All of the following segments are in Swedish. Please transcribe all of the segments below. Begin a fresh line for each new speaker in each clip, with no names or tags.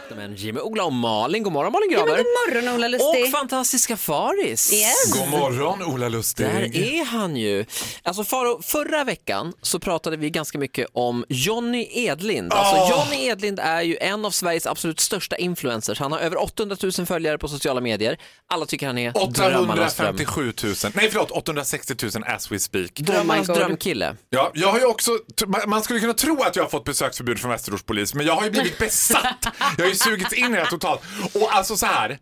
Vakna med en Jimmy, Ola och Malin. God morgon Malin
Ja, men
Gramer.
god morgon Ola Lustig.
och fantastiska Faris.
Yes.
God morgon Ola
Där
Lustig.
är han ju. Alltså Faro, förra veckan så pratade vi ganska mycket om Jonny Edlind.
Ah.
Alltså Jonny Edlind är ju en av Sveriges absolut största influencers. Han har över 800 000 följare på sociala medier. Alla tycker han är drömmarnas dröm.
857 000, nej förlåt 860 000 as we speak.
Drömmarnas
Oh God.
drömkille.
Ja, jag har ju också, t- ma- man skulle kunna tro att jag har fått besöksförbud från Västerås polis, men jag har ju blivit besatt. Jag har ju sugits in i det här totalt. Och alltså så här,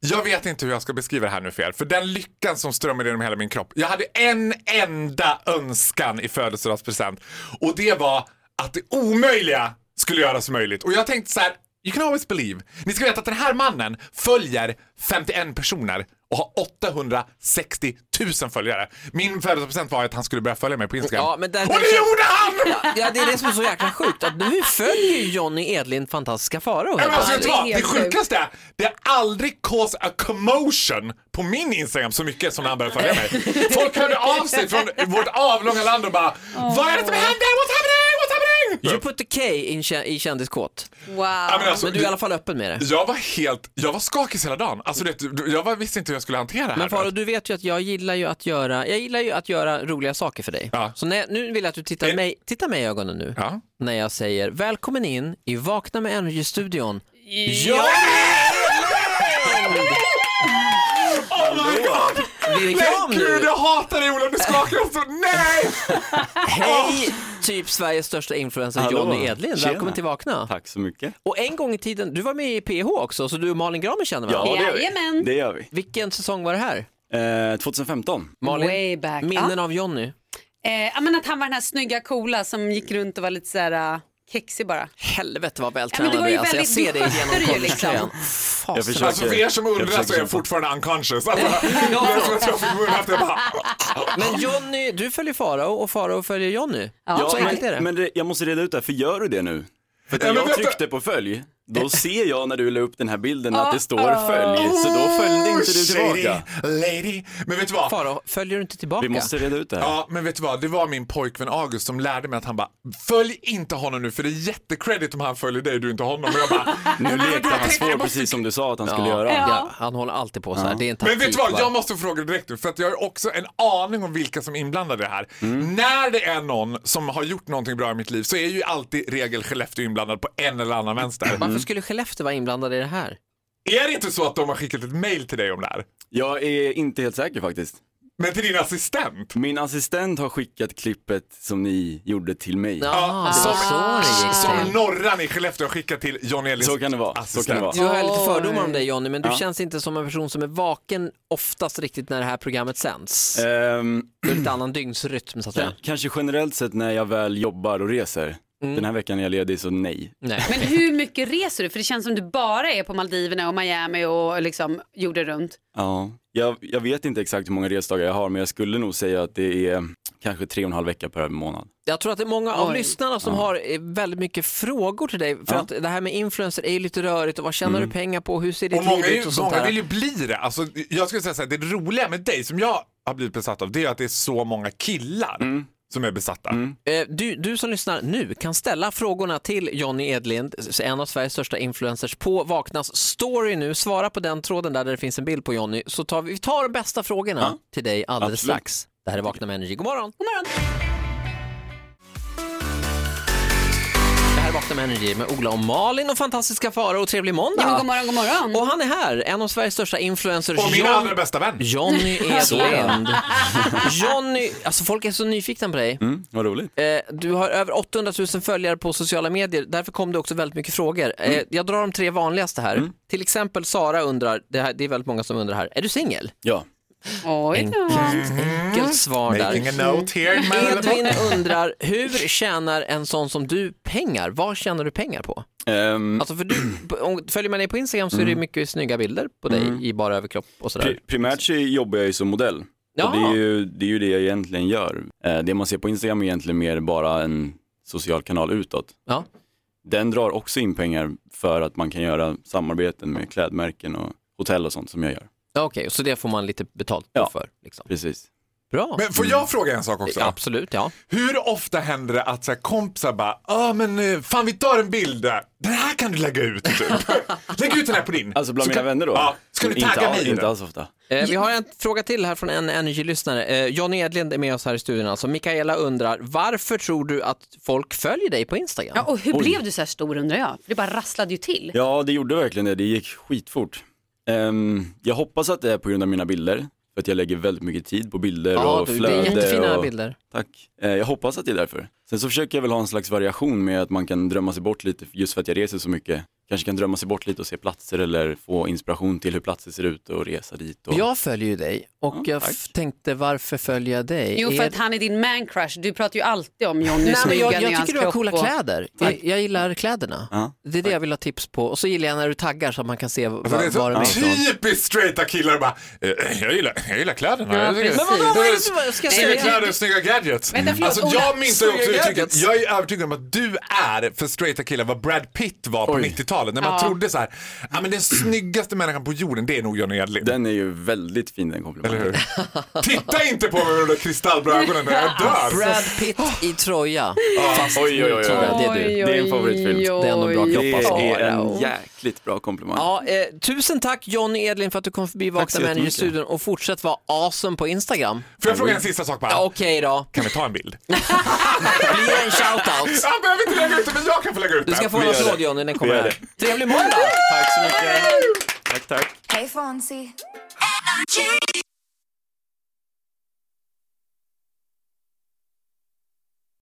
jag vet inte hur jag ska beskriva det här nu för er, för den lyckan som strömmar genom hela min kropp. Jag hade en enda önskan i födelsedagspresent och det var att det omöjliga skulle göras möjligt. Och jag tänkte så här, you can always believe. Ni ska veta att den här mannen följer 51 personer och har 860 000 följare. Min födelsedagspresent var att han skulle börja följa mig på Instagram.
Ja, men där-
och det gjorde han!
Ja, det är det som är så jäkla sjukt. Att nu följer ju Jonny Edlind fantastiska Faro.
Nej, men alltså, vet du vad?
det är helt
Det
sjukt.
sjukaste är, det har aldrig cause a commotion på min Instagram så mycket som när han började följa mig. Folk hörde av sig från vårt avlånga land och bara Vad är det som händer? What's happening? What's happening?
You put the K in, kä- i kändiskåt.
Wow.
Ja, men alltså,
Men du är i alla fall öppen med det.
Jag var helt, jag var skakig hela dagen. Alltså, det, jag var, visste inte hur jag skulle hantera det här.
Men Faro,
vet
du vet ju att jag gillar ju att göra, jag gillar ju att göra roliga saker för dig.
Ja.
Så när, nu vill jag att du tittar
Är-
mig, titta mig i ögonen nu.
du. Ja.
När jag säger välkommen in i Vakna med Energy-studion.
Ja! Oh my god!
Blir det kram
Nej gud
nu?
jag hatar dig Ola, du skakar jag så, nej!
Hej! Typ Sveriges största influencer
Hallå.
Johnny Edlin.
Tjena.
Välkommen till Vakna.
Tack så mycket.
Och en gång i tiden, du var med i PH också, så du och Malin Gramer känner varandra.
Ja, det gör vi.
Jajamän.
Det gör vi.
Vilken säsong var det här?
Eh, 2015.
Malin?
Way back.
Minnen av Johnny.
Eh, ja, men att han var den här snygga coola som gick runt och var lite så här uh, kexig bara.
Helvete vad
Ja, men
vältränad
det var
du
ju
är. Alltså, jag
väldigt-
ser dig genom
du skötte det ju
kollegian.
liksom.
Jag försöker-
Alltså för er som
jag
undrar så
försöker
är jag
kämpa.
fortfarande unconscious. Alltså,
Ja.
det är som att jag fick munnen efter, jag bara...
Men Johnny, du följer Farao och Farao följer Johnny.
Ja,
så enkelt är det.
men, men det, jag måste reda ut det här, för gör du det nu? För att
Ja,
när
men
jag
vänta.
tryckte på följ, då ser jag när du la upp den här bilden
Ah.
att det står följ, så då följde inte du tillbaka.
"Oh, Shady lady. Men vet du vad?
Farao, följer du inte tillbaka?
Vi måste reda ut det här.
Ja, men vet du vad? Det var min pojkvän August som lärde mig att han bara Följ inte honom nu för det är jättecredit om han följer dig och du inte honom. Och jag bara,
Nu lekte
jag
han
tänkte-
svår precis som du sa att han skulle göra.
Ja, han håller alltid på så här. Det är en taktik,
men vet du vad,
va?
jag måste fråga direkt nu för att jag har också en aning om vilka som är inblandade i det här.
Mm.
När det är någon som har gjort någonting bra i mitt liv så är ju alltid regel Skellefteå inblandad på en eller annan vänster.
Mm.
Varför skulle Skellefteå vara inblandad i det här?
Är det inte så att de har skickat ett mail till dig om det här?
Jag är inte helt säker faktiskt.
Men till din assistent?
Min assistent har skickat klippet som ni gjorde till mig.
Ja, Ah, det var så det gick
Som
till.
Norran i Skellefteå har skickat till Johnny Elins
Så kan det vara. Så
assistent.
kan det vara.
Du har lite fördomar om dig Johnny, men du känns inte som en person som är vaken oftast riktigt när det här programmet sänds.
Ehm,
Du har lite annan dygnsrytm så att säga.
K- Kanske generellt sett när jag väl jobbar och reser.
Mm.
Den här veckan är jag ledig så nej.
Nej.
Men hur mycket reser du? För det känns som du bara är på Maldiverna och Miami och liksom jorden runt.
Ja. Jag, jag vet inte exakt hur många resdagar jag har men jag skulle nog säga att det är kanske tre och en halv vecka per månad.
Jag tror att det är många av
Oj.
lyssnarna som har eh, väldigt mycket frågor till dig. För
Ja.
att det här med influencer är ju lite rörigt och vad tjänar du pengar på? Hur ser ditt
Mm. Och många, är
liv
ju,
ut och sånt
många vill
där?
ju bli det. Alltså, jag skulle säga så här, det roliga med dig som jag har blivit besatt av det är att det är så många killar
Mm.
som är besatta.
Eh, Du, du som lyssnar nu kan ställa frågorna till Johnny Edlind, s- en av Sveriges största influencers, på Vaknas story nu. Svara på den tråden där, där det finns en bild på Johnny, så tar vi, vi tar de bästa frågorna
Ja.
till dig alldeles
Absolut.
strax. Det här är Vakna med Energy. God morgon!
God morgon.
Det här är Vakna med Energy med Ola och Malin och fantastiska Farao. och Trevlig måndag!
Ja, men god morgon, god morgon.
Och han är här, en av Sveriges största influencers,
Och min
John-
allra bästa vän.
Johnny
Så.
Edlind. Johnny, alltså folk är så nyfikna på dig.
Mm, vad roligt.
Eh, du har över 800 000 följare på sociala medier, därför kom det också väldigt mycket frågor.
Mm.
Eh, jag drar de tre vanligaste här. Till exempel Sara undrar, det, här, det är väldigt många som undrar här, är du singel?
Ja.
Oj då.
Mm. Enkelt svar
Making
där.
a note here. in my little book.
Edvin undrar, hur tjänar en sån som du pengar? Vad tjänar du pengar på?
Ehm,
Alltså för du, om, följer man dig på
Mm.
Instagram så är det mycket snygga bilder på dig i bara överkropp och sådär.
pri- primärt så jobbar jag ju som modell
Ja.
Och det, är ju, det är ju det jag egentligen gör. Eh, det man ser på Instagram är egentligen mer bara en social kanal utåt.
Ja.
Den drar också in pengar för att man kan göra samarbeten med klädmärken och hotell och sånt som jag gör.
Ja, Okej, så det får man lite betalt
Ja.
för. Liksom.
Precis.
Bra.
Men får jag fråga en sak också?
Absolut, ja.
Hur ofta händer det att så här, kompisar bara, ja men eh, fan vi tar en bild där, den här kan du lägga ut typ. Lägg ut den här på din.
Alltså bland
Så
mina
kan-
vänner då?
Ja, ska du tagga
inte,
mig i
Inte
den?
alls ofta.
Eh, vi har en fråga till här från en Energy-lyssnare. Eh, Johnny Edlind är med oss här i studion. Alltså. Mikaela undrar, varför tror du att folk följer dig på Instagram?
Ja, och hur blev du så här stor undrar jag? För det bara rasslade ju till.
Ja, det gjorde verkligen det. Det gick skitfort. Ehm, jag hoppas att det är på grund av mina bilder, för att jag lägger väldigt mycket tid på bilder
Ja,
och
du, det
flöde.
är jättefina
och...
bilder.
Tack. Eh, jag hoppas att det är därför. Sen så försöker jag väl ha en slags variation med att man kan drömma sig bort lite, just för att jag reser så mycket. Kanske kan drömma sig bort lite och se platser eller få inspiration till hur platser ser ut och resa dit. Och...
Jag följer ju dig och jag f- tänkte varför följer jag dig?
Jo, för
Är-
att han är din man crush. Du pratar ju alltid om Johnny
Nej, men
snygga
jag,
nu är
jag
hans
tycker du har
kropp
coola
och-
kläder. Jag, jag gillar kläderna.
Ja,
det är det jag vill ha tips på. Och så gillar jag när du taggar så att man kan se vad,
Alltså, det är så
vad det är.
typiskt straighta killar bara, eh, jag gillar, jag gillar kläderna.
Ja,
jag tycker-
precis. Men vadå,
vad är det som- vad ska jag
Snygga
säga?
kläder och snygga gadgets.
Vänta, förlåt,
alltså,
Ola,
jag minns ju också
snygga
uttrycket,
gadgets.
jag är övertygad om att du är för straighta killar vad Brad Pitt var på 90-talet. När man trodde så här, ja men den snyggaste människan på jorden det är nog Johnny Edlin.
Den är ju väldigt fin den komplimangen.
Eller hur? Titta inte på mig med de där kristallblå ögonen, jag dör.
Ah, Brad Pitt i troja. Fast
Oj, oj, oj, oj.
troja, det är du.
Oj,
Det är en favoritfilm.
oj,
Det är ändå bra
oj,
kropp,
Det
alltså.
oj.
är en jäkligt bra komplimang.
Ja, eh, tusen tack Johnny Edlin för att du kom förbi
så
Vakna med
jättemycket.
Energy-studion och fortsätt vara awesome på Instagram.
Får jag fråga en sista sak bara?
Ja, Okej då,
Kan vi ta en bild?
blir det en shoutout.
Jag behöver inte lägga ut den, men jag kan få lägga ut
Du
den.
ska få
Vi
en
gör
applåd
det.
Johnny, den kommer
gör
här. Trevlig måndag!
Tack så mycket. Tack, tack.
Hey, Fonzie.